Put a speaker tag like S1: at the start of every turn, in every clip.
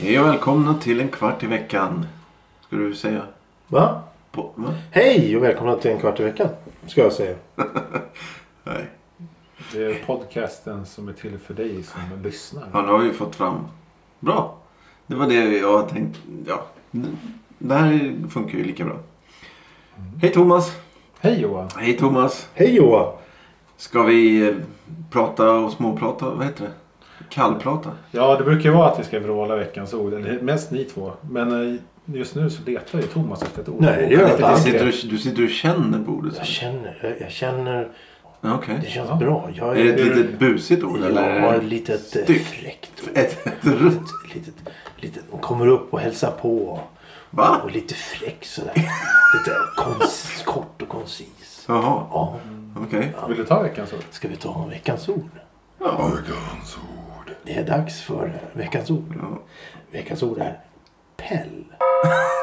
S1: Hej och välkomna till en kvart i veckan. Ska du säga?
S2: Va?
S1: På, va?
S2: Hej och välkomna till en kvart i veckan. Ska jag säga.
S1: Nej.
S3: Det är podcasten som är till för dig som lyssnar.
S1: Ja, nu har vi fått fram. Bra. Det var det jag hade tänkt. Ja. Det här funkar ju lika bra. Hej Thomas.
S3: Hej Johan!
S1: Hej Thomas.
S2: Hej Johan!
S1: Ska vi eh, prata och småprata? Vad heter det? Kallprata?
S3: Ja, det brukar ju vara att vi ska vråla veckans ord. Eller mest ni två. Men eh, just nu så letar ju Thomas efter ett ord.
S2: Nej, det gör jag inte.
S1: Du
S2: Ja.
S1: sitter, och, du sitter och känner på ordet.
S2: Jag känner, jag, jag känner,
S1: Ja, Okej.
S2: det känns
S3: Ja.
S2: bra. Jag
S1: Är det ett
S3: Hur-
S1: litet busigt ord?
S2: jag
S1: eller?
S2: har ett litet eh,
S1: Styck.
S2: fräckt ord.
S1: Ett, ett rutt?
S2: Ett litet, litet, och kommer upp och hälsar på.
S1: Va?
S2: Och lite fräck sådär. lite kons, kort och koncis.
S1: Jaha,
S2: Ja,
S1: okej.
S3: Vill du ta veckans ord?
S2: ska vi ta veckans ord?
S1: Ja.
S2: Det är dags för veckans ord. Veckans ord är Pell.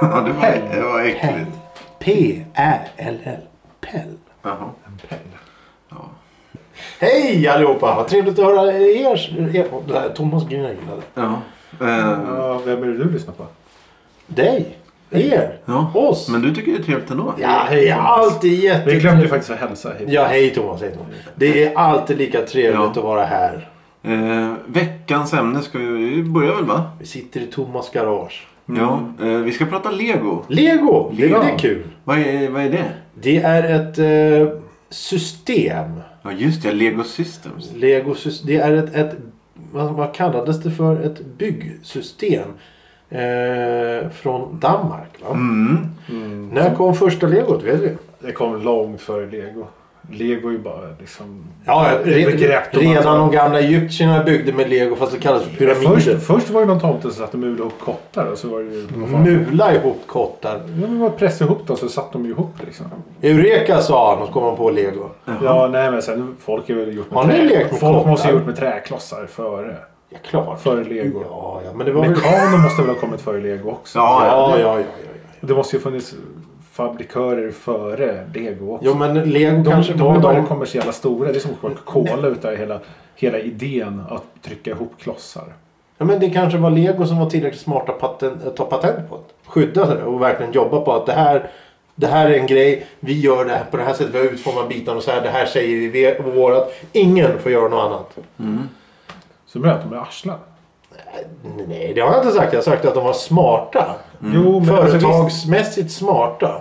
S1: Ja, det var, det var
S2: Pell.
S1: äckligt.
S2: P-Ä-L-L. Pell.
S1: Jaha.
S3: En pell.
S2: Hej allihopa! Vad trevligt att höra er. er det här, Thomas grinade.
S1: Ja. Eh,
S3: Ja, vem är det du lyssnar på?
S2: Dig! Er!
S1: ja.
S2: Oss!
S1: Men du tycker det är trevligt ändå?
S2: Ja, hej,
S3: Hej, Thomas.
S2: allt är jätte...
S3: Vi glömde ju faktiskt att hälsa. Hej.
S2: Ja, hej Thomas. Hej, Thomas. Det är alltid lika trevligt
S1: Ja.
S2: att vara här.
S1: Eh, veckans ämne ska vi, vi börjar väl va?
S2: Vi sitter i Thomas garage.
S1: Ja. Eh, vi ska prata lego.
S2: Lego! Det
S1: Lego.
S2: är väldigt kul.
S1: Vad är, vad är det?
S2: Det är ett eh, system.
S1: Ja just det, lego systems.
S2: Lego sys- Det är ett... ett vad, vad kallades det för? Ett byggsystem. Eh, från Danmark. Va?
S1: Mm.
S2: När kom första legot? Vet vi?
S3: Det kom långt före lego. Lego är ju bara liksom...
S2: Ja,
S3: ett
S2: re,
S3: begrepp de
S2: redan de
S3: använder.
S2: gamla egyptierna byggde med lego fast det kallades för pyramider.
S3: Först, först var det någon tomte som satte mula ihop kottar och så var det ju... vad fan-
S2: Mula ihop kottar.
S3: Ja, men man pressade ihop dem så satt de ju ihop liksom.
S2: Eureka sa han och så kom han på lego.
S3: Ja, nej men sen folk är väl gjort med
S2: Har ni
S3: trä-
S2: lekt med
S3: Folk
S2: kottar?
S3: måste ha gjort med träklossar före.
S2: Ja, klart.
S3: Före lego.
S2: Ja, ja, men det var väl... Ja,
S3: Mekano måste väl ha kommit före lego också?
S1: Ja,
S2: ja, ja. ja, ja.
S3: Det måste ju funnits fabrikörer före lego också.
S2: Jo, men lego
S3: de,
S2: kanske
S3: de
S2: var
S3: är bara
S2: de...
S3: kommersiella stora. Det är som att kola ut där hela, hela idén att trycka ihop klossar.
S2: Ja, men det kanske var lego som var tillräckligt smarta patent, att ta patent på det. Skydda det och verkligen jobba på att det här... Det här är en grej. Vi gör det här på det här sättet. Vi har utformat bitarna och så här. Det här säger vi ve- vårat. Ingen får göra något annat.
S3: Så menar jag att de är arslen.
S2: Nej, det har jag inte sagt. Jag har sagt att de var smarta.
S3: Jo, men alltså, visst- Mm.
S2: Företagsmässigt smarta.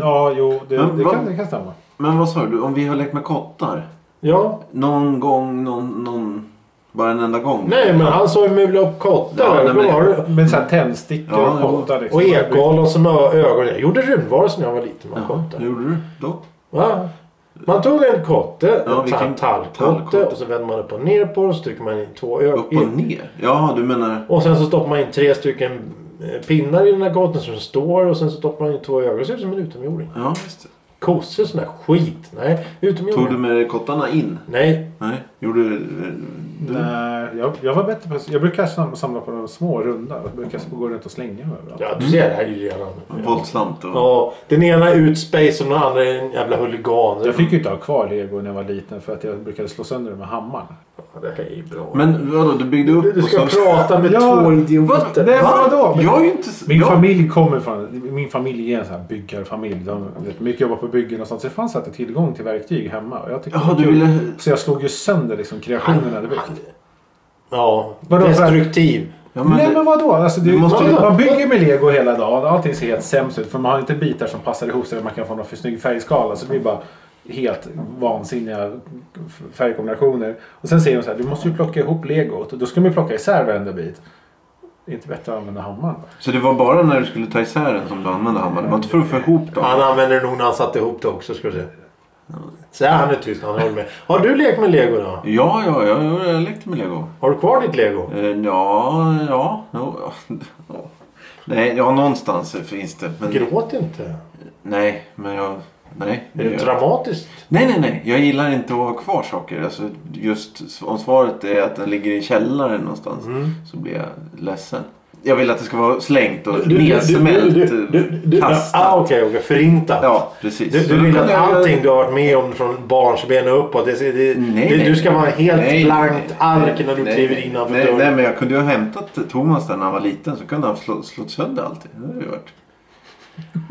S3: ja, jo, det,
S1: Men
S3: det,
S1: vad-
S3: kan, det kan stämma.
S1: Men vad sa du? Om vi har lekt med kottar?
S2: Ja.
S1: Någon gång, någon... någon bara en enda gång?
S2: Nej, men han sa ju mula och
S1: Ja,
S2: kottar.
S1: nej, men-
S2: Då var det-
S3: Men så här tändstickor
S1: Ja,
S3: och
S1: jo.
S3: kottar. Liksom.
S2: och ekollon som har ögon. Jag gjorde rymdvarelser när jag var liten med
S1: Jaha,
S2: kottar.
S1: hur gjorde du då?
S2: Va? Man tog en kotte,
S1: Ja,
S2: en
S1: vilken
S2: ta-
S1: tallkotte.
S2: tallkotte och så vänder man upp och ner på den så trycker man in två
S1: Upp och
S2: ögon.
S1: ner? Jaha, du menar...
S2: Och sen så stoppar man in tre stycken eh, pinnar i den här kotten som står och sen så stoppar man in två ögon. Det ser ut som en utomjording.
S1: Ja, just det.
S2: Kossor sån här skit. Nej,
S1: Tog du
S2: utomjording.
S1: med dig kottarna in?
S2: Nej,
S1: Nej, gjorde du... du?
S3: Nej, jag, jag var bättre på Jag brukar sam- samla på de små runda. Jag brukar gå runt och slänga mig överallt.
S2: ja du ser det här är ju redan.
S1: Våldsamt och...
S2: Ja, den ena är ut space och den andra är en jävla huligan.
S3: Jag fick ju inte ha kvar lego när jag var liten för att jag brukade slå sönder det med hammaren.
S2: Det här är bra.
S1: Men vadå, du byggde upp
S2: du ska
S1: och sen...
S2: prata med
S3: Ja,
S2: två
S1: Vad?
S2: idioter.
S3: Nej,
S1: Va?
S3: vadå? Men-
S1: Jag är ju inte... s-
S3: Min
S1: jag...
S3: familj kommer från... Min familj är en sån här byggarfamilj. De vet, mycket jobbar på byggen och sånt. Så det fanns alltid tillgång till verktyg hemma. Och jag tyckte det
S1: Jaha,
S3: var
S1: du
S3: kul.
S1: ville-
S3: Så jag slog ju sönder liksom kreationerna. Det...
S2: Ja,
S3: Vadå, för-
S2: destruktiv.
S1: Ja, men
S3: Nej
S1: det-
S3: men vadå? Alltså, det,
S1: Du måste-
S3: man, man bygger med lego hela dagen. Allting ser helt sämst ut. För man har inte bitar som passar ihop så att man kan få någon för snygg färgskala. Så det blir bara helt vansinniga färgkombinationer. Och sen säger de så här. Du måste ju plocka ihop legot. Och då ska man ju plocka isär varenda bit. Det är inte bättre att använda hammaren.
S1: Så det var bara när du skulle ta isär den som du använde hammaren? Det var inte för att få ihop dem?
S2: Han använder nog när han satte ihop det också ska du se. Så han är tyst, han håller med. Har du lekt med lego då?
S1: Ja, ja, ja, jag har lekt med lego.
S2: Har du kvar ditt lego?
S1: Eh, Ja, ja, ja, ja. Nej, ja någonstans finns det. Men,
S2: Gråt inte.
S1: nej, men jag... Nej,
S2: Är
S1: det
S2: det
S1: gör jag.
S2: dramatiskt?
S1: nej, nej, nej. Jag gillar inte att ha kvar saker. Alltså, just om svaret är att den ligger i källaren någonstans så blir jag ledsen. Jag vill att det ska vara slängt och nedsmält.
S2: du- du- du-
S1: kastat.
S2: Ah, okej, okej. Förintat.
S1: Ja, precis.
S2: Du,
S1: Så
S2: du
S1: då
S2: vill
S1: kan
S2: att
S1: jag-
S2: allting du har varit med om från barnsben och uppåt. Det, det,
S1: Nej,
S2: det,
S1: nej.
S2: du ska vara helt
S1: Nej,
S2: blankt
S1: nej,
S2: ark när du
S1: nej,
S2: kliver
S1: nej,
S2: innanför
S1: nej,
S2: dörren.
S1: nej, men jag kunde ju ha hämtat Thomas där när han var liten så kunde han ha slå, slått sönder allt. det. Det hade ju varit...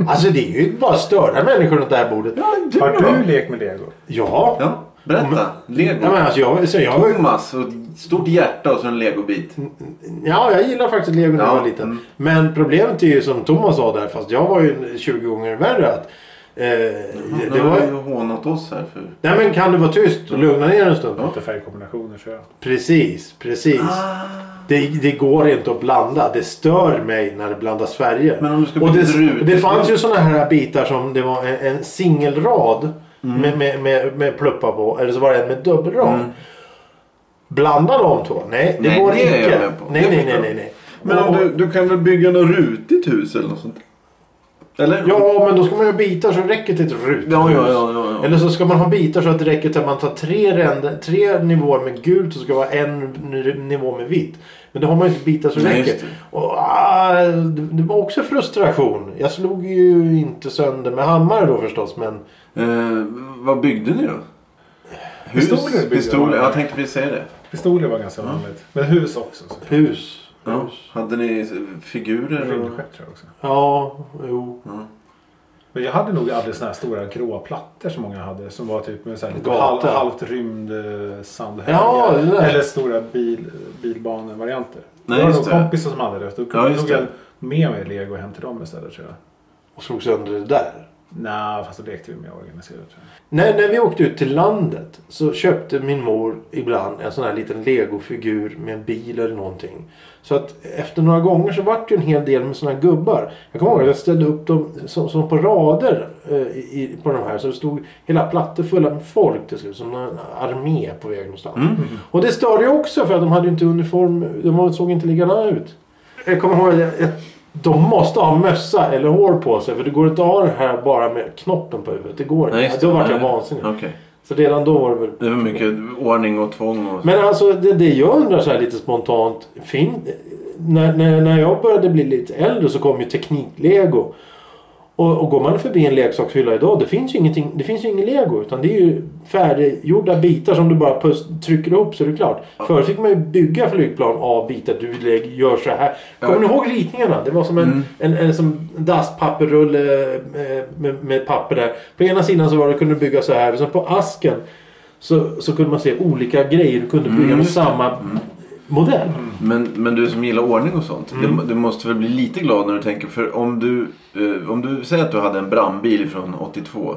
S2: Alltså det är ju bara störda människor runt det här bordet.
S1: Ja, du
S3: Har
S1: då?
S3: du lekt med lego?
S2: Ja.
S1: Ja, berätta. Lego.
S2: Ja, men alltså, jag, så jag,
S1: Thomas och ett stort hjärta och så en legobit.
S2: ja, jag gillar faktiskt lego när jag
S1: Ja,
S2: var liten.
S1: mm.
S2: Men problemet är ju som Thomas sa där, fast jag var ju 20 gånger värre. Att, eh,
S1: Nu
S2: det
S1: har ju
S2: var,
S1: hånat oss här för...
S2: nej men kan du vara tyst och lugna ner en stund?
S3: Lite färgkombinationer så jag.
S2: Precis, precis.
S1: Ah.
S2: Det, det går inte att blanda. Det stör mig när det blandas färger.
S1: Men om du ska
S2: och
S1: byta
S2: det,
S1: rutor-
S2: det fanns ju sådana här bitar som det var en, en singelrad
S1: Mm.
S2: med, med, med, med pluppa på. Eller så var det en med dubbelrad. Blanda de två? Nej, det
S1: Nej,
S2: går
S1: det är jag
S2: inte.
S1: med på.
S2: Nej,
S1: Det
S2: nej,
S1: förstår
S2: nej,
S1: jag.
S2: nej, nej.
S1: Men om
S2: Och-
S1: du, du kan väl bygga något rutigt hus eller något sånt? Eller?
S2: Ja, men då ska man ju ha bitar så det räcker till ett ruthus.
S1: Ja, ja, ja, ja, ja.
S2: Eller så ska man ha bitar så att det räcker till att man tar tre, ränder, tre nivåer med gult och så ska det vara en n- nivå med vitt. Men då har man ju inte bitar så det
S1: Nej,
S2: räcker.
S1: just
S2: Och, ah, det det var också frustration. Jag slog ju inte sönder med hammare då förstås. Men
S1: Eh, vad byggde ni då? Hus?
S3: Pistoler byggde jag.
S1: Pistoler? Jag tänkte precis säga det.
S3: Pistoler var ganska vanligt. Men hus också. Så.
S2: hus.
S1: Ja.
S2: hus.
S1: Hade ni figurer? Och...
S3: Rymdskepp tror jag också.
S2: Ja, jo.
S3: Men jag hade nog aldrig såna här stora gråa plattor som många hade. Som var typ med så här lite halv,
S2: Gata.
S3: halvt rymd eh, sandhögar.
S2: Ja, det där.
S3: Eller stora bil, bilbanevarianter.
S1: Nej,
S3: det var
S1: just
S3: nog
S1: det.
S3: kompisar som hade det. Då
S1: Ja, just
S3: tog
S1: det.
S3: jag med mig lego hem till dem istället tror jag.
S2: Och slog sönder det där.
S3: Nej, fast då lekte vi mer organiserat. tror jag.
S2: När, när vi åkte ut till landet så köpte min mor ibland en sån här liten legofigur med en bil eller någonting. Så att efter några gånger så vart det ju en hel del med såna här gubbar. Jag kommer ihåg att jag ställde upp dem som, som på rader eh, i, i- på de här. Så det stod hela plattor fulla med folk till slut. Som en armé på väg någonstans.
S1: Mm.
S2: Och det störde ju också för att de hade ju inte uniform. De var- såg inte likadana ut. Jag kommer ihåg att jag- jag- de måste ha mössa eller hår på sig. För det går inte att ha det här bara med knoppen på huvudet. Det går inte.
S1: Nej, just det.
S2: då vart jag
S1: Nej.
S2: vansinnig.
S1: Okej.
S2: Så redan då var det väl...
S1: Det var mycket ordning och tvång och...
S2: Men alltså det, det jag undrar så här lite spontant. Fin, när, när, när jag började bli lite äldre så kom ju tekniklego. Och, och går man förbi en leksakshylla idag det finns ju ingenting, det finns ju ingen lego. Utan det är ju färdiggjorda bitar som du bara pus, trycker ihop så är det klart. Förut fick man ju bygga flygplan av bitar. Du lägger- gör så här. Kommer ni ihåg ritningarna? Det var som en, en, en, som dasspapperrulle eh, med, med papper där. På ena sidan så var det, kunde du bygga så här. Och sen på asken så, så kunde man se olika grejer du kunde bygga med samma modell.
S1: Men, men du som gillar ordning och sånt.
S2: Mm.
S1: Du, du måste väl bli lite glad när du tänker. För om du, eh, om du säger att du hade en brandbil från 82.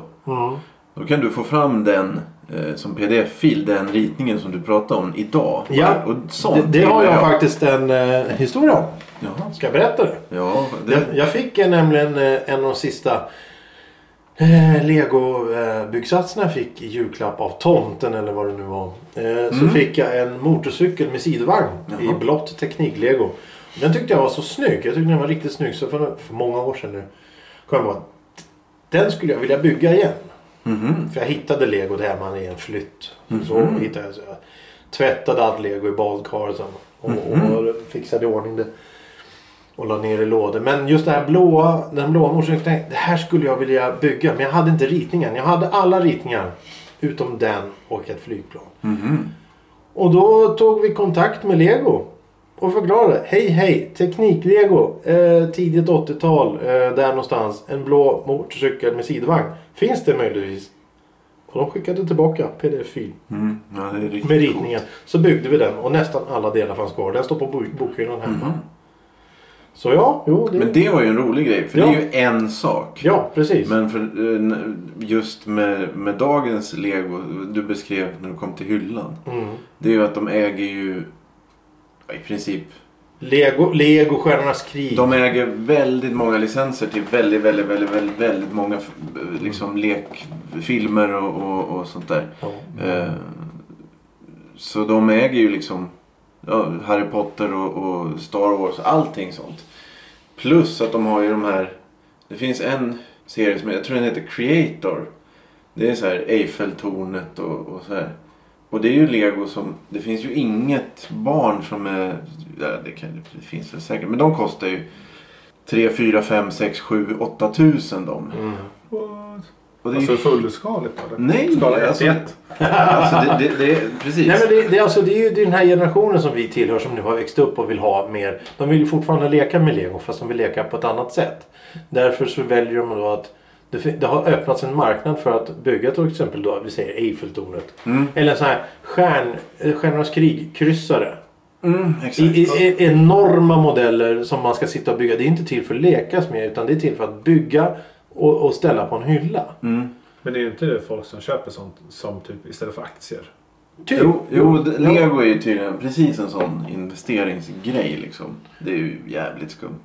S1: Då kan du få fram den eh, som pdf-fil. Den ritningen som du pratade om idag.
S2: Ja,
S1: och sånt
S2: det, det har
S1: gillar
S2: jag faktiskt en eh, historia om.
S1: Jaha.
S2: Ska jag berätta det?
S1: Ja,
S2: Jag,
S1: det,
S2: jag fick eh, nämligen eh, en av de sista eh, Lego-byggsatserna jag fick i julklapp av tomten eller vad det nu var. Eh, så fick jag en motorcykel med sidovagn i
S1: Mm. Jaha.
S2: blått teknik-lego. Den tyckte jag var så snygg. Jag tyckte den var riktigt snygg. Så för, för många år sedan nu. Kom jag på att den skulle jag vilja bygga igen.
S1: Mhm.
S2: För jag hittade lego där man i en flytt. Så hittade jag, så jag tvättade allt lego i badkaret sen. Och, och fixade i ordning det. Och la ner i lådor. Men just det här blåa, den blåa motorcykeln. tänkte jag, Det här skulle jag vilja bygga. Men jag hade inte ritningen. Jag hade alla ritningar. Utom den och ett flygplan.
S1: Mhm.
S2: Och då tog vi kontakt med Lego. Och förklarade. Hej hej! Teknik-Lego. Eh, tidigt 80-tal. Eh, där någonstans. En blå motorcykel med sidovagn. Finns det möjligtvis? Och de skickade tillbaka pdf-fil
S1: mm, ja, det är riktigt
S2: med
S1: coolt.
S2: ritningen. Så byggde vi den och nästan alla delar fanns kvar. Den står på bok- bokhyllan hemma. Så ja, jo. Det...
S1: Mm. Mhm. Men det var ju en rolig grej. För
S2: Ja.
S1: det är ju en sak.
S2: Ja, precis.
S1: Men för, eh, n- just med, med dagens lego, du beskrev när du kom till hyllan.
S2: Mm.
S1: Det är ju att de äger ju ja, i princip.
S2: Lego, Lego Stjärnornas krig.
S1: De äger väldigt många licenser till väldigt, väldigt, väldigt, väldigt, väldigt många f- eh, liksom lekfilmer och, och, och sånt där.
S2: Ja.
S1: Eh, Så de äger ju liksom ja, Harry Potter och, och Star Wars och allting sånt. Plus att de har ju de här. Det finns en serie som jag tror den heter Creator. Det är så här Eiffeltornet och, och så här. Och det är ju lego som... Det finns ju inget barn som är... Ja, det, kan, det finns väl säkert. Men de kostar ju 3, 4, 5, 6, 7, 8 tusen de.
S2: Mm.
S3: What?
S1: Och det är ju...
S3: Alltså fullskaligt eller?
S1: Nej,
S3: Skala 1
S1: alltså-
S3: till 1.
S1: Alltså det, det, det är... Precis.
S2: Nej, men det, det, är alltså, det är ju den här generationen som vi tillhör som nu har växt upp och vill ha mer. De vill ju fortfarande leka med lego fast de vill leka på ett annat sätt. Därför så väljer de då att det, fin- det har öppnats en marknad för att bygga till exempel då, vi säger Eiffeltornet. Eller en sån här stjärn, eh, Stjärnornas krig-kryssare.
S1: Mm,
S2: I,
S1: exakt.
S2: i, i, enorma modeller som man ska sitta och bygga. Det är inte till för att lekas med utan det är till för att bygga och, och ställa på en hylla.
S1: Mm.
S3: Men det är ju inte det folk som köper sånt som typ istället för aktier?
S2: Typ.
S1: Jo, jo, det- lego är ju tydligen precis en sån investeringsgrej liksom. Det är ju jävligt skumt.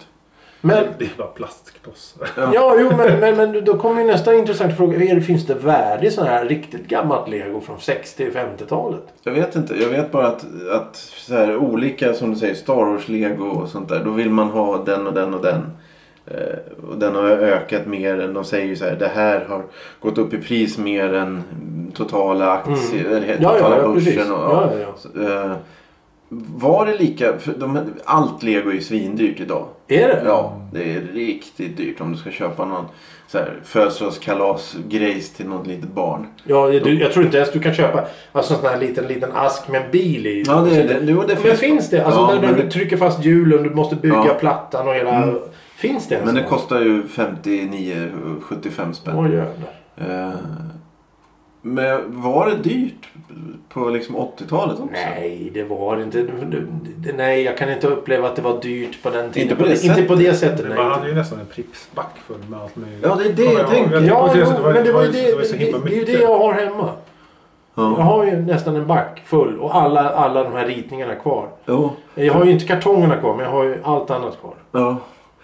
S2: Men
S3: Det är bara plastklossar.
S2: Ja, jo, men, men, men då kommer ju nästa intressanta fråga. Är det, finns det värde i sån här riktigt gammalt lego från 60 och 50-talet?
S1: Jag vet inte. Jag vet bara att, att så här, olika, som du säger, Star Wars-lego och sånt där. Då vill man ha den och den och den. Eh, och den har ökat mer än, de säger ju så här, det här har gått upp i pris mer än totala aktier, eller
S2: Mm. Ja, ja,
S1: totala
S2: ja, precis.
S1: börsen. Och,
S2: Ja, ja, ja.
S1: Så, eh, var det lika, för de, allt lego är ju svindyrt idag.
S2: Är det?
S1: Ja, det är riktigt dyrt om du ska köpa någon så här, födelsedagskalas-grejs till något litet barn.
S2: Ja, du, jag tror inte ens du kan köpa alltså, en sån här liten, liten ask med en bil i.
S1: Ja, det, det, jo, det
S2: Men finns, det? Alltså
S1: Ja,
S2: där,
S1: men
S2: där du trycker fast hjulen, du måste bygga
S1: Ja. Mm.
S2: plattan och hela... Finns det en
S1: Men
S2: sån
S1: det
S2: här?
S1: kostar ju 59,75 spänn.
S2: Oj, jävlar.
S1: Eh, men var det dyrt på liksom 80-talet också?
S2: Nej, det var det inte. Du- du- det- Nej, jag kan inte uppleva att det var dyrt på den tiden.
S1: Inte på det
S2: Inte på det sättet,
S3: Men
S2: nej.
S3: man hade ju nästan en pripsback full med allt möjligt.
S1: Ja, det är det jag
S3: Kommer ihåg.
S1: tänker.
S3: Jag
S2: Ja,
S3: tyckte
S2: jo,
S3: att
S2: men det var ju
S3: så-
S2: det,
S3: var så
S2: det,
S3: himla
S2: det, är ju det
S3: mycket.
S2: jag har hemma. Jag
S1: Ja.
S2: har ju nästan en back full och alla, alla de här ritningarna kvar.
S1: Jo,
S2: Jag har ju inte kartongerna kvar men jag har ju allt annat kvar.
S1: ja.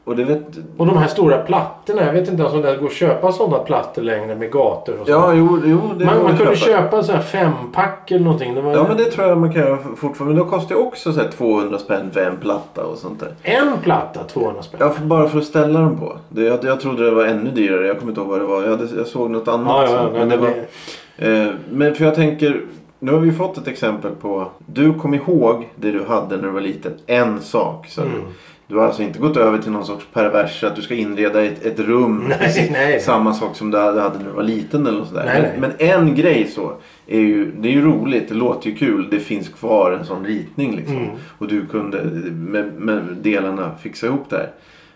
S1: Och det vet...
S2: Och de här stora plattorna. Jag vet inte ens om det går att köpa sådana plattor längre med gator och så.
S1: Ja, jo, jo det
S2: man
S1: går
S2: man
S1: att
S2: kunde köpa en sån här fempack eller någonting. Det var
S1: Ja, men det tror jag man kan göra fortfarande. Men då kostar ju också så här 200 spänn för en platta och sånt där.
S2: En platta 200 spänn.
S1: Ja, för, bara för att ställa dem på. Det, jag, jag trodde det var ännu dyrare. Jag kommer inte ihåg vad det var. Jag, hade, jag såg något annat.
S2: Ja, ja,
S1: sånt,
S2: nej,
S1: men det
S2: men
S1: var...
S2: det-
S1: Eh, Men för jag tänker, nu har vi fått ett exempel på, du kom ihåg det du hade när du var liten, en sak. Så
S2: Mm.
S1: du, du har alltså inte gått över till någon sorts pervers, att du ska inreda ett, ett rum.
S2: Nej,
S1: precis
S2: nej.
S1: Samma sak som du hade hade när du var liten eller något sådär.
S2: Nej,
S1: men, men en grej så, är ju, det är ju roligt, det låter ju kul, det finns kvar en sån ritning liksom. Och du kunde med, med delarna fixa ihop det här.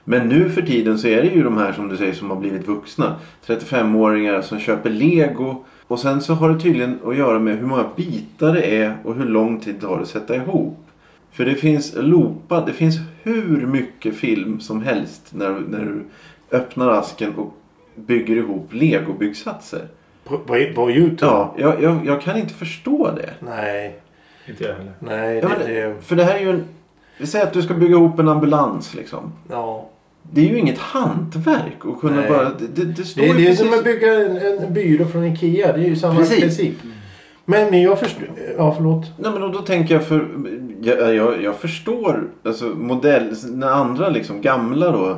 S1: Men nu för tiden så är det ju de här som du säger som har blivit vuxna. 35-åringar som köper lego. Och sen så har det tydligen att göra med hur många bitar det är och hur lång tid det har att sätta ihop. För det finns loopat, det finns hur mycket film som helst när, du- när du öppnar asken och bygger ihop legobyggsatser.
S2: På, på, på YouTube?
S1: Ja, jag, jag, jag kan inte förstå det.
S2: Nej,
S3: Inte jag heller.
S2: nej.
S1: Ja,
S2: det,
S1: men,
S2: det,
S1: för det här är ju en... Vi säger att du ska bygga ihop en ambulans liksom.
S2: ja.
S1: Det är ju inget hantverk att kunna
S2: Nej.
S1: bara... Det, det, det står
S2: Det är
S1: ju
S2: det
S1: precis...
S2: som att bygga en, en byrå från Ikea. Det är ju samma
S1: Precis.
S2: princip. Men, men jag förstår... Ja, förlåt.
S1: Nej men då, då tänker jag för... Jag, jag, jag förstår alltså modell... När andra liksom gamla då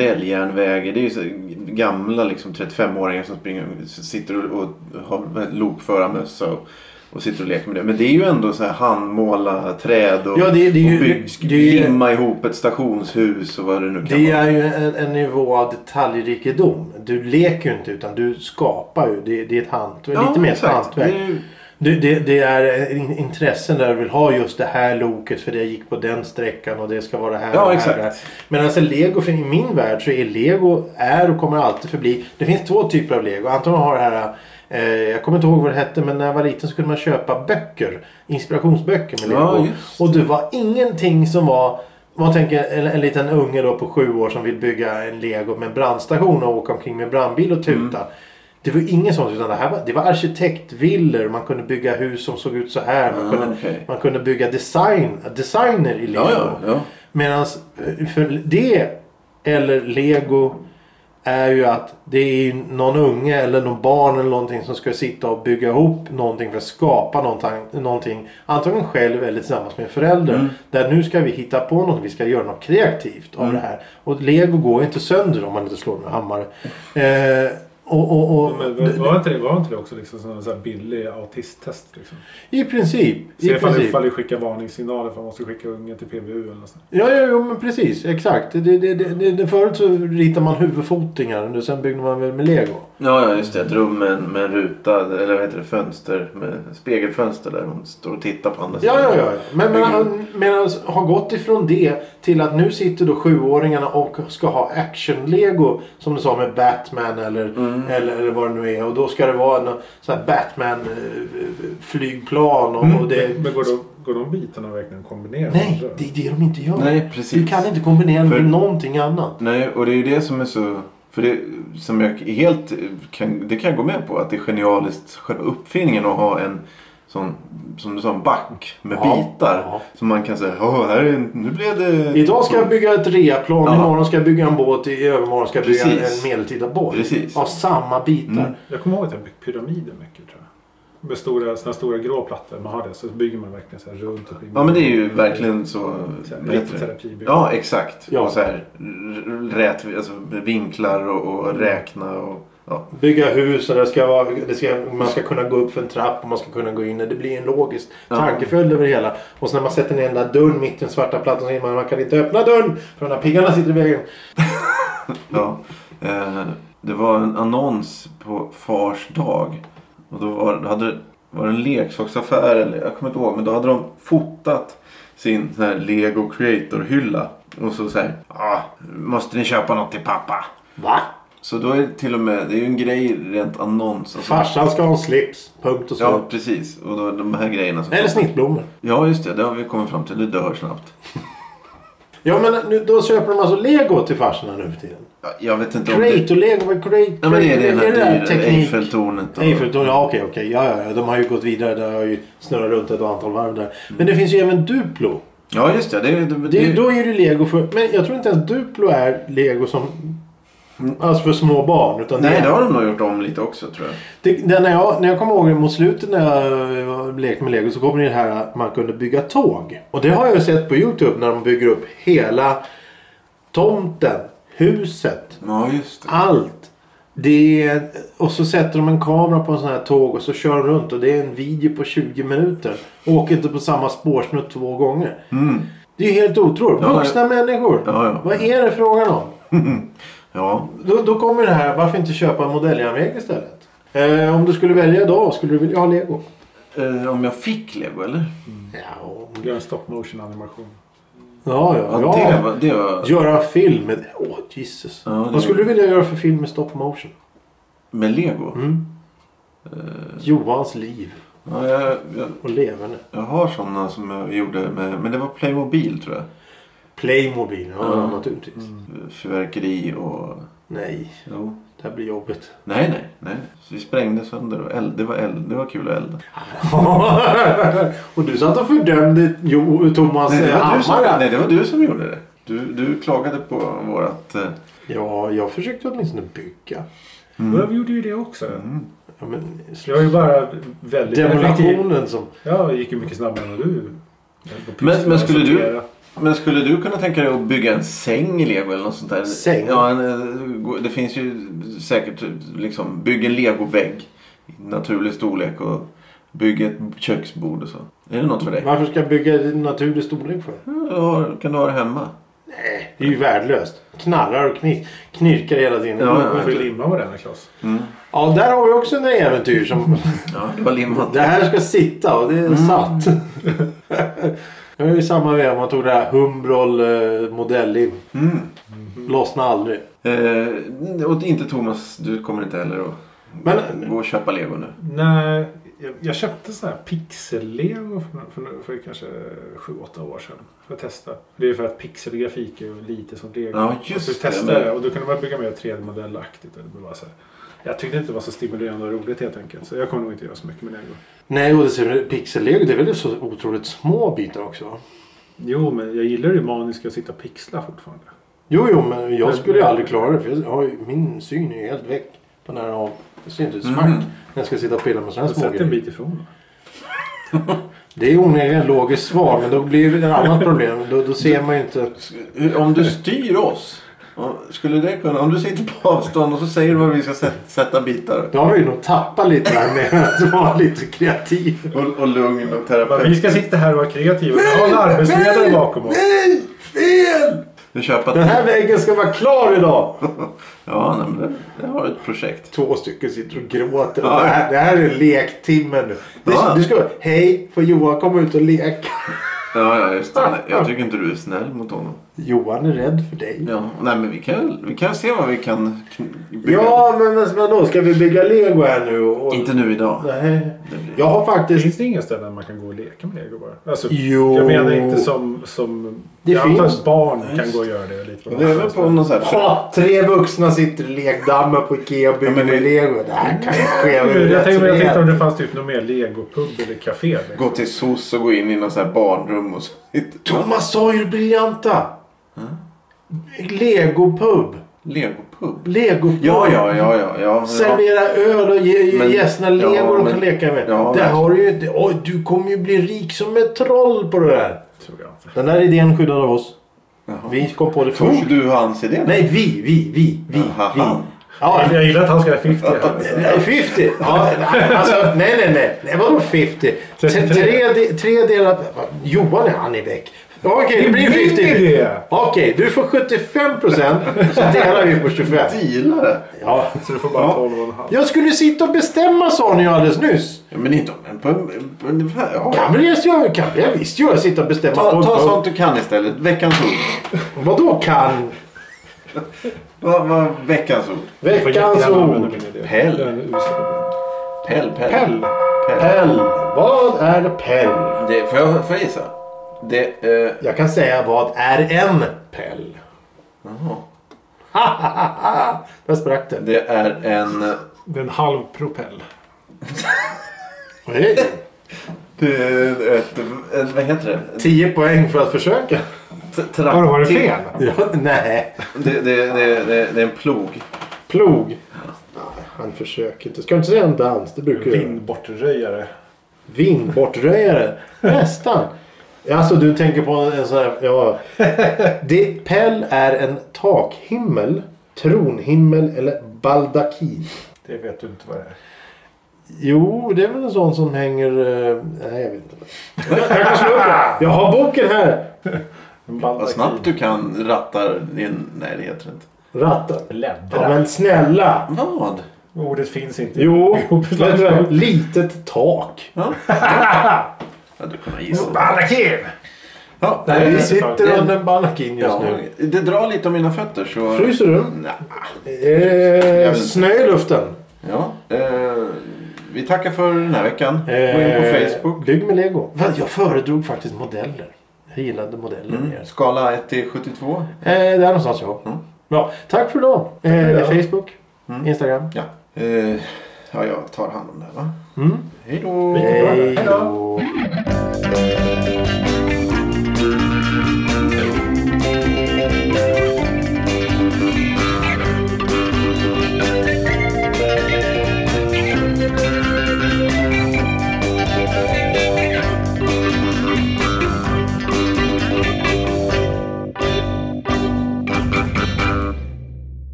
S1: modelljärnvägar. Det är ju så, gamla liksom 35-åringar som springer, sitter och, och har lokförarmössa och, och sitter och leker med det. Men det är ju ändå så här handmåla träd och,
S2: Ja, det- det är ju-
S1: och bygg,
S2: det är ju-
S1: limma ihop ett stationshus och vad det nu kan
S2: Det
S1: vara.
S2: är ju en, en nivå av detaljrikedom. Du leker ju inte utan du skapar ju. Det, det är ett hantverk.
S1: Ja,
S2: lite mer ett
S1: exakt.
S2: hantverk.
S1: Det är ju-
S2: Det, det, det är in- intressen där du vill ha just det här loket för det gick på den sträckan och det ska vara det här
S1: Ja,
S2: och det här.
S1: exakt.
S2: och det här. Men alltså lego, för i min värld så är lego, är och kommer alltid förbli. Det finns två typer av lego. Antingen har det här, eh, jag kommer inte ihåg vad det hette men när jag var liten så kunde man köpa böcker. Inspirationsböcker med
S1: Ja,
S2: lego.
S1: just
S2: och det var ingenting som var man tänker en, en liten unge då på sju år som vill bygga en lego med en brandstation och åka omkring med en brandbil och tuta.
S1: Mm.
S2: Det var inget sånt utan det här var, det var arkitektvillor. Man kunde bygga hus som såg ut så här. Man,
S1: Ah,
S2: kunde,
S1: okej.
S2: man kunde bygga design, designer i lego.
S1: Ja, ja, ja.
S2: Medan eh, för det eller lego är ju att det är någon unge eller någon barn eller någonting som ska sitta och bygga ihop någonting för att skapa någonting. någonting antingen själv eller tillsammans med föräldrar.
S3: Mm.
S2: Där nu ska vi hitta på något, vi ska göra något
S3: Mm.
S2: kreativt av det här. Och lego går ju inte sönder om man inte slår med hammare. Eh, Och, och, och,
S3: Men
S2: det-
S3: var inte det, var inte det också liksom sån här billig autisttest? Liksom?
S2: I princip.
S3: Se
S2: I
S3: ifall,
S2: princip.
S3: ifall du skickar varningssignaler för man måste skicka ungen till PBU eller något sånt.
S2: Ja, ja, ja, men precis. Exakt. Det, det, det, det, det, förut så ritade man huvudfotingar och sen byggde man väl med lego.
S1: Ja, ja, just det. Ett rum med en, med en ruta, eller vad heter det, fönster. Med spegelfönster där hon står och tittar på andra
S2: Ja,
S1: sidan.
S2: ja, ja. Men medan, medan har gått ifrån det till att nu sitter då sjuåringarna och ska ha action-lego. Som du sa med Batman eller,
S1: Mm.
S2: eller, eller vad det nu är. Och då ska det vara en sån här Batman-flygplan. Och,
S1: Mm.
S2: och det...
S3: Mm. Men går de, går de bitarna verkligen att kombinera?
S2: Nej,
S3: med andra?
S2: det är det de inte gör.
S1: Nej, precis.
S2: Du kan inte kombinera det
S1: För-
S2: med någonting annat.
S1: Nej, och det är ju det som är så... För det som jag helt kan, det kan jag gå med på. Att det är genialiskt, själva uppfinningen att ha en sån, som du sa, en back med
S2: Ja,
S1: bitar.
S2: ja.
S1: Som man kan säga, Åh, här är, en- nu blev det...
S2: Idag ska jag bygga ett reaplan,
S1: Ja.
S2: imorgon ska jag bygga en båt, i övermorgon ska jag bygga
S1: Precis.
S2: en medeltida båt.
S1: Precis.
S2: Av samma bitar.
S1: Mm.
S3: Jag kommer ihåg att jag byggt pyramider mycket tror jag. Med stora, såna stora grå plattor. Man har det så bygger man verkligen så här runt. och
S1: Ja, men det är ju verkligen så...
S3: Så
S1: vad
S3: här,
S1: heter
S3: Riktigt
S1: det?
S3: terapibygge.
S1: Ja, exakt.
S2: Ja.
S1: Och så här, r- rät, alltså, vinklar och,
S2: Mm.
S1: och räkna och... Ja.
S2: Bygga hus och det ska vara, det ska, man ska kunna gå upp för en trapp och man ska kunna gå in. Det blir en logisk
S1: Ja.
S2: tankeföljd över det hela. Och sen när man sätter ner den där dörren mitt i den svarta plattan så inser man man kan inte öppna dörren för de där piggarna sitter i vägen.
S1: Ja. Eh, det var en annons på Fars dag. Och då var, då hade, var det en leksaksaffär, eller jag kommer inte ihåg. Men då hade de fotat sin sån här Lego Creator-hylla. Och så så här, ah, måste ni köpa något till pappa?
S2: Va?
S1: Så då är det till och med, det är ju en grej rent annons. Alltså,
S2: Farsan ska ha en slips. Punkt och så.
S1: ja, precis. Och då, de här grejerna. som-
S2: Eller snittblommor.
S1: Ja, just det. Det har vi kommit fram till. Det dör snabbt.
S2: Ja men nu, då köper de alltså lego till farsorna nu för tiden.
S1: Ja, Jag vet inte om det...
S2: Creator-lego. Create, create,
S1: Nej, men är det den
S2: är det
S1: här
S2: där
S1: dyra Eiffeltornet? och-
S2: Eiffeltornet, ja okej, okej. Ja, ja, ja, de har ju gått vidare. Det har ju snurrat runt ett antal varv där. Men det finns ju även Duplo.
S1: Ja, just det. Det, är- det,
S2: Det är, då är det lego för... Men jag tror inte ens Duplo är lego som... Alltså för små barn. Utan
S1: Nej,
S2: det,
S1: det har de nog gjort om lite också tror jag.
S2: det, det, när, jag, när jag kommer ihåg mot slutet när jag eh, lekte med lego så kom det här att man kunde bygga tåg. Och det har jag ju sett på Youtube när de bygger upp hela tomten, huset,
S1: Ja, just det.
S2: allt. Det är, och så sätter de en kamera på en sån här tåg och så kör de runt och det är en video på 20 minuter. Och åker inte på samma spårsnutt två gånger.
S1: Mm.
S2: Det är ju helt otroligt.
S1: Ja, ja.
S2: Vuxna människor.
S1: Ja, ja.
S2: Vad är det frågan om?
S1: Ja.
S2: Då, då kommer det här, varför inte köpa en modelljärnväg istället? Eh, om du skulle välja idag, skulle du vilja ha lego?
S1: Eh, om jag fick lego eller?
S2: Ja, om-
S3: Gör en stop motion animation.
S2: ja,
S1: Ja,
S2: ja.
S1: det
S2: ja.
S1: var... Det var...
S2: Göra film med... Åh, oh, Jesus.
S1: Ja, det-
S2: Vad skulle du vilja göra för film med stop motion?
S1: Med lego?
S2: Mm.
S1: Eh.
S2: Johans liv
S1: Ja, jag, jag,
S2: och leverne.
S1: jag har sådana som jag gjorde med... Men det var Playmobil tror jag.
S2: Playmobil, ja,
S1: Ja. Mm.
S2: naturligtvis.
S1: Fyrverkeri och...
S2: Nej,
S1: Jo.
S2: det här blir jobbigt.
S1: Nej, nej, nej. Så vi sprängde sönder och eld. Det var eld. Det var kul att elda.
S2: och du satt och fördömde jo, Thomas
S1: Nej, det var, du som,
S2: Alltså, Hammar.
S1: nej, det var du som gjorde det. Du, du klagade på vårat... eh,
S2: Ja, jag försökte åtminstone bygga.
S1: Mm.
S3: Jag gjorde ju det också.
S2: Ja, men,
S3: Jag var ju bara väldigt effektiv.
S2: demolationen som...
S3: Ja, jag gick ju mycket snabbare än vad du. Jag höll på att
S1: Men-
S3: pyssla
S1: men
S3: och
S1: skulle du-
S3: sortera.
S1: Men skulle du kunna tänka dig att bygga en säng i lego eller något sånt där?
S2: Säng?
S1: Ja, en, eh, det finns ju säkert liksom bygg en legovägg i naturlig storlek och bygg ett köksbord och så. Är det något för dig?
S2: Varför ska jag bygga en naturlig storlek för?
S1: Ja, du har- Kan du ha det hemma?
S2: Det är ju värdelöst. Knarrar och kni- knirkar hela tiden.
S1: Ja, ja.
S3: Man får ju limma varenda kloss.
S2: Mm. Ja, där har vi också en äventyr som...
S1: Ja, det var limmat.
S2: det här ska sitta och det
S1: Mm.
S2: är satt. Det var ju samma veva man tog det här Humbrol eh, modellim.
S1: Mm.
S2: Lossna aldrig.
S1: Eh, och inte Thomas, du kommer inte heller att
S2: Men
S1: gå och köpa lego nu.
S3: Nej, jag, jag köpte sån här pixellego för, för, för kanske 7-8 år sedan. För att testa. Det är för att pixelgrafik är ju lite som lego.
S1: Ja,
S3: Och så
S1: just
S3: testade
S1: det.
S3: jag och då kunde man bygga mer 3D-modellaktigt. och det blev bara så här. Jag tyckte inte det var så stimulerande och roligt helt enkelt. Så jag kommer nog inte göra så mycket med lego.
S2: nej, och det ser väl- pixellego det är väl så otroligt små bitar också? va?
S3: Jo, men jag gillar det maniska att sitta och pixla fortfarande.
S2: Jo, jo, men jag skulle ju aldrig klara det för jag har ju, min syn är ju helt väck på nära håll. Det ser inte ut smack
S1: Mm.
S2: när jag ska sitta och pilla med sådana här små
S3: Sätt en
S2: grejer.
S3: bit ifrån.
S2: Det är onekligen ett logiskt svar men då blir det ett annat problem. Då, då ser man ju inte.
S1: Om du styr oss Och skulle det kunna, om du sitter på avstånd och så säger du var vi ska sätta, sätta bitar.
S2: Då har vi nog tappat lite där med att vara lite kreativ.
S1: Och, och lugn och
S3: Bara, Vi
S1: terapeut.
S3: ska sitta här och vara kreativa. Vi har en arbetsledare bakom oss.
S1: Nej! Fel! Du köper
S2: Den här väggen ska vara klar idag!
S1: Ja, nej, men det, det var ett projekt.
S2: Två stycken sitter och gråter.
S1: Ja.
S2: Det, här, det här är lektimmen nu. Det,
S1: Ja.
S2: du ska, hej, får Johan komma ut och leka?
S1: Ja, ja, just det. Nej, Jag tycker inte du är snäll mot honom.
S2: Johan är rädd för dig.
S1: Ja, nej men vi kan, väl- vi kan se vad vi kan kn- bygga.
S2: Ja, men men vadå? Ska vi bygga lego här nu? Och, och,
S1: Inte nu idag.
S2: Nej.
S1: Det blir...
S2: Jag har faktiskt...
S3: Finns det inga ställen man kan gå och leka med lego bara? Alltså,
S2: Jo.
S3: Jag menar inte som... som
S2: Det
S3: jag antar
S2: finns.
S3: att barn kan gå och göra det. Lite
S1: Det är väl på någon sån här...
S2: Ha, tre vuxna sitter i lekdammar på Ikea och bygger
S1: Ja, men
S2: med
S1: det-
S2: lego. Det här kan ju ske över
S3: Jag
S2: rätt
S3: tänkte, jag tänkte om
S2: fred.
S3: det fanns typ någon mer legopub eller café. Liksom.
S1: Gå till SOS och gå in i någon sån här barnrum och så...
S2: Thomas sa ju det briljanta. Legopub.
S1: Legopub.
S2: Legopub.
S1: Ja, ja, ja, ja. ja, ja.
S2: Servera öl och ge, ge
S1: Men-
S2: gästerna lego
S1: ja,
S2: de
S1: men-
S2: kan leka med.
S1: ja,
S2: det
S1: men-
S2: har du ju, det, oj, du kommer ju bli rik som ett troll på det där.
S3: Tror jag inte.
S2: Den här idén skyddar av oss.
S1: Jaha.
S2: Vi kom på det
S1: Tog
S2: först.
S1: du hans idé?
S2: Nej, vi, vi, vi, vi,
S1: Aha,
S2: vi.
S1: han.
S2: Ja,
S3: Jag gillar att han ska ha 50 här.
S2: Nej, 50! Ja, alltså, nej, nej, nej. Det var nog 50. Tre,
S3: 33.
S2: tre, de- tre delar... Johan, han är väck. Okej, det blir
S3: Det är min
S2: 50.
S3: idé.
S2: Okej, du får 75 procent. Så delar vi på 25.
S1: Dealare?
S2: Ja.
S3: Så du får bara 12,5.
S2: Jag skulle sitta och bestämma sa ni ju alldeles nyss.
S1: Ja, men inte om en... På en, på en ja.
S2: Kan vi det? Jag kan vi visst göra. Sitta och bestämma.
S1: ta,
S2: Och-
S1: ta
S2: och-
S1: sånt du kan istället. Veckans ord.
S2: Vadå kan?
S1: Vad vad veckans ord?
S2: Veckans ord.
S1: Pell.
S3: Pell.
S1: Pell, pell.
S3: Pell.
S1: Pell.
S2: Pell. Vad är pell?
S1: Det, får, jag, får jag gissa? Det... Eh,
S2: Jag kan säga vad är en pell?
S1: jaha.
S2: Där sprack det.
S1: det är en...
S3: Det är en halv propell.
S2: Hej.
S1: Det är ett, ett, vad heter det?
S2: 10 poäng för att försöka.
S1: T- Traktor.
S3: Har det varit fel?
S2: Ja, nej.
S1: Det, det, det, det, det är en plog.
S2: Plog. Nej, Han försöker inte. Ska du inte säga en dans? Det brukar du göra.
S3: Vindbortröjare.
S2: Vindbortröjare. Nästan. Alltså du tänker på en sån här... Ja. Det, Pell är en takhimmel, tronhimmel eller baldakin.
S3: Det vet du inte vad det är.
S2: Jo, det är väl en sån som hänger... eh, Nej, jag vet inte. Jag kan slå upp det. Jag har boken här.
S3: En
S1: Vad snabbt du kan rattar din... Nej, det heter det inte.
S2: Ratten. Ja,
S3: Bläddra.
S2: men snälla.
S1: Vad?
S3: Ordet finns inte.
S2: Jo,
S3: men-
S2: men litet tak.
S1: Ja. Jag hade kunnat gissa.
S3: Balakin!
S1: Ja,
S3: Nej,
S2: Vi
S1: det,
S3: det-
S2: sitter under en baldakin just
S1: ja,
S2: nu.
S1: det drar lite om mina fötter så...
S2: Fryser du?
S1: Nej.
S2: Eh, snö i luften.
S1: Ja. Eh, vi tackar för den här veckan. Gå in på
S2: Eh,
S1: Facebook.
S2: Bygg med lego. Va, Jag föredrog faktiskt modeller. Jag gillade modeller mer.
S1: Mm. Skala 1 till 72.
S2: Eh, där någonstans ja.
S1: Mm.
S2: Bra. Tack för idag. Eh, Facebook. Instagram.
S1: Ja. Eh, ja, jag tar hand om det här, va?
S2: Mm.
S1: Hej då!
S2: Hej då.